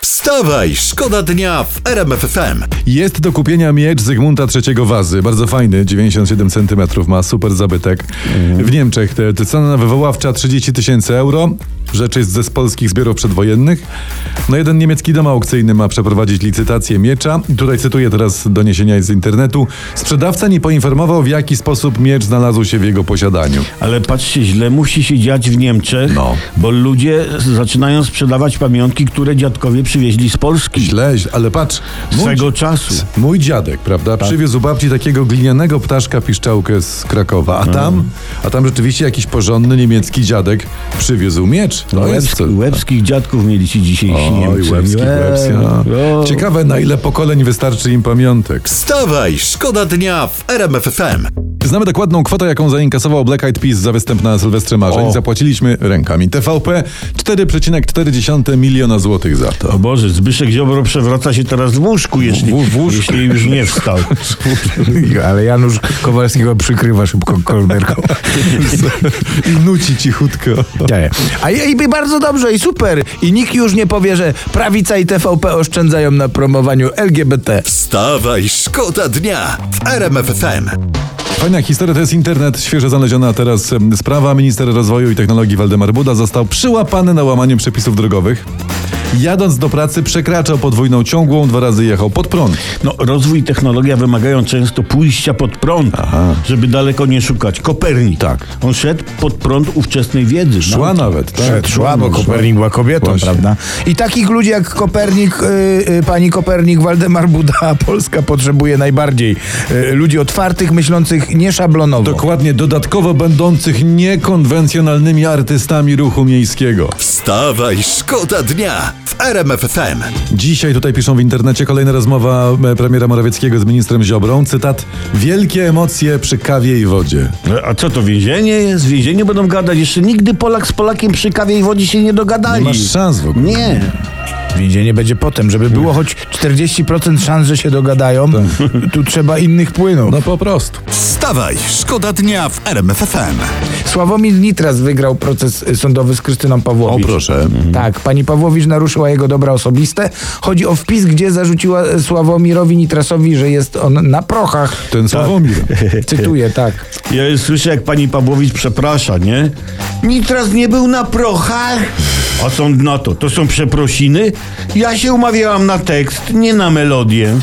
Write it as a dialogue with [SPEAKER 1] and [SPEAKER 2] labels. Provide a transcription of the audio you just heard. [SPEAKER 1] Wstawaj, szkoda dnia w RMF FM.
[SPEAKER 2] Jest do kupienia miecz Zygmunta III Wazy. Bardzo fajny, 97 cm ma, super zabytek. W Niemczech te- te cena wywoławcza 30 tysięcy euro. Rzecz jest ze z polskich zbiorów przedwojennych. No jeden niemiecki dom aukcyjny ma przeprowadzić licytację miecza. I Tutaj cytuję teraz doniesienia z internetu. Sprzedawca nie poinformował, w jaki sposób miecz znalazł się w jego posiadaniu.
[SPEAKER 3] Ale patrzcie źle, musi się dziać w Niemczech,
[SPEAKER 2] No.
[SPEAKER 3] bo ludzie zaczynają sprzedawać pamiątki, które dziadkowie przywieźli z Polski
[SPEAKER 2] Źle, źle, ale patrz. mój-
[SPEAKER 3] swego czasu.
[SPEAKER 2] Mój dziadek, prawda, przywiózł babci takiego glinianego ptaszka piszczałkę z Krakowa, a tam, a tam rzeczywiście jakiś porządny niemiecki dziadek przywiózł miecz. No jest co.
[SPEAKER 3] Łebski, łebskich dziadków mieli ci dzisiejsi
[SPEAKER 2] Oj,
[SPEAKER 3] Niemcy.
[SPEAKER 2] łebski, łebski. no.
[SPEAKER 3] O.
[SPEAKER 2] Ciekawe, na ile pokoleń wystarczy im pamiątek.
[SPEAKER 1] Wstawaj, szkoda dnia w RMF FM.
[SPEAKER 2] Znamy dokładną kwotę, jaką zainkasował Black Eyed Peas za występ na Sylwestrze Marzeń.
[SPEAKER 3] O.
[SPEAKER 2] Zapłaciliśmy rękami. TVP 4,4 miliona złotych za to.
[SPEAKER 3] O Boże, Zbyszek Ziobro przewraca się teraz w łóżku, jeśli,
[SPEAKER 2] W- w łóżku.
[SPEAKER 3] jeśli już nie wstał.
[SPEAKER 4] Ale Janusz Kowalski go przykrywa szybko kolberką.
[SPEAKER 2] I nuci cichutko.
[SPEAKER 4] Nie. A i, i bardzo dobrze, i super. I nikt już nie powie, że prawica i TVP oszczędzają na promowaniu LGBT.
[SPEAKER 1] Wstawaj, szkoda dnia w RMF FM.
[SPEAKER 2] Fajna historia, to jest internet, świeżo znaleziona teraz em, sprawa. Minister Rozwoju i Technologii Waldemar Buda został przyłapany na łamaniu przepisów drogowych. Jadąc do pracy przekraczał podwójną ciągłą, dwa razy jechał pod prąd.
[SPEAKER 3] No, rozwój i technologia wymagają często pójścia pod prąd, żeby daleko nie szukać. Kopernik.
[SPEAKER 2] Tak.
[SPEAKER 3] On szedł pod prąd ówczesnej wiedzy.
[SPEAKER 2] Szła
[SPEAKER 3] No.
[SPEAKER 2] nawet, tak?
[SPEAKER 4] Szedł, Szła, bo Kopernik była kobietą,
[SPEAKER 2] Właśnie.
[SPEAKER 4] prawda? I takich ludzi jak Kopernik, y, y, pani Kopernik, Waldemar Buda, Polska potrzebuje najbardziej. Y, ludzi otwartych, myślących nieszablonowo.
[SPEAKER 2] Dokładnie, dodatkowo będących niekonwencjonalnymi artystami ruchu miejskiego.
[SPEAKER 1] Wstawaj, szkoda dnia w RMF FM.
[SPEAKER 2] Dzisiaj tutaj piszą w internecie kolejna rozmowa e, premiera Morawieckiego z ministrem Ziobrą. Cytat: Wielkie emocje przy kawie i wodzie.
[SPEAKER 3] No, A co to więzienie jest? W więzieniu będą gadać. Jeszcze nigdy Polak z Polakiem przy kawie i wodzie się nie
[SPEAKER 2] Nie
[SPEAKER 3] dogadali.
[SPEAKER 2] masz szans w ogóle.
[SPEAKER 3] Nie.
[SPEAKER 4] Więzienie będzie potem, żeby było choć 40% szans, że się dogadają. Tu trzeba innych płynąć.
[SPEAKER 2] No po prostu.
[SPEAKER 1] Wstawaj, szkoda dnia w RMF FM.
[SPEAKER 4] Sławomir Nitras wygrał proces y, sądowy z Krystyną Pawłowicz.
[SPEAKER 2] O, proszę. Mhm.
[SPEAKER 4] Tak, pani Pawłowicz naruszyła jego dobra osobiste. Chodzi o wpis, gdzie zarzuciła y, Sławomirowi Nitrasowi, że jest on na prochach.
[SPEAKER 2] Ten
[SPEAKER 3] Tak.
[SPEAKER 2] Sławomir.
[SPEAKER 4] Cytuję, tak.
[SPEAKER 3] Ja już słyszę, jak pani Pawłowicz przeprasza, nie? Nitras nie był na prochach. A sąd na to, to są przeprosiny? Ja się umawiałam na tekst, nie na melodię.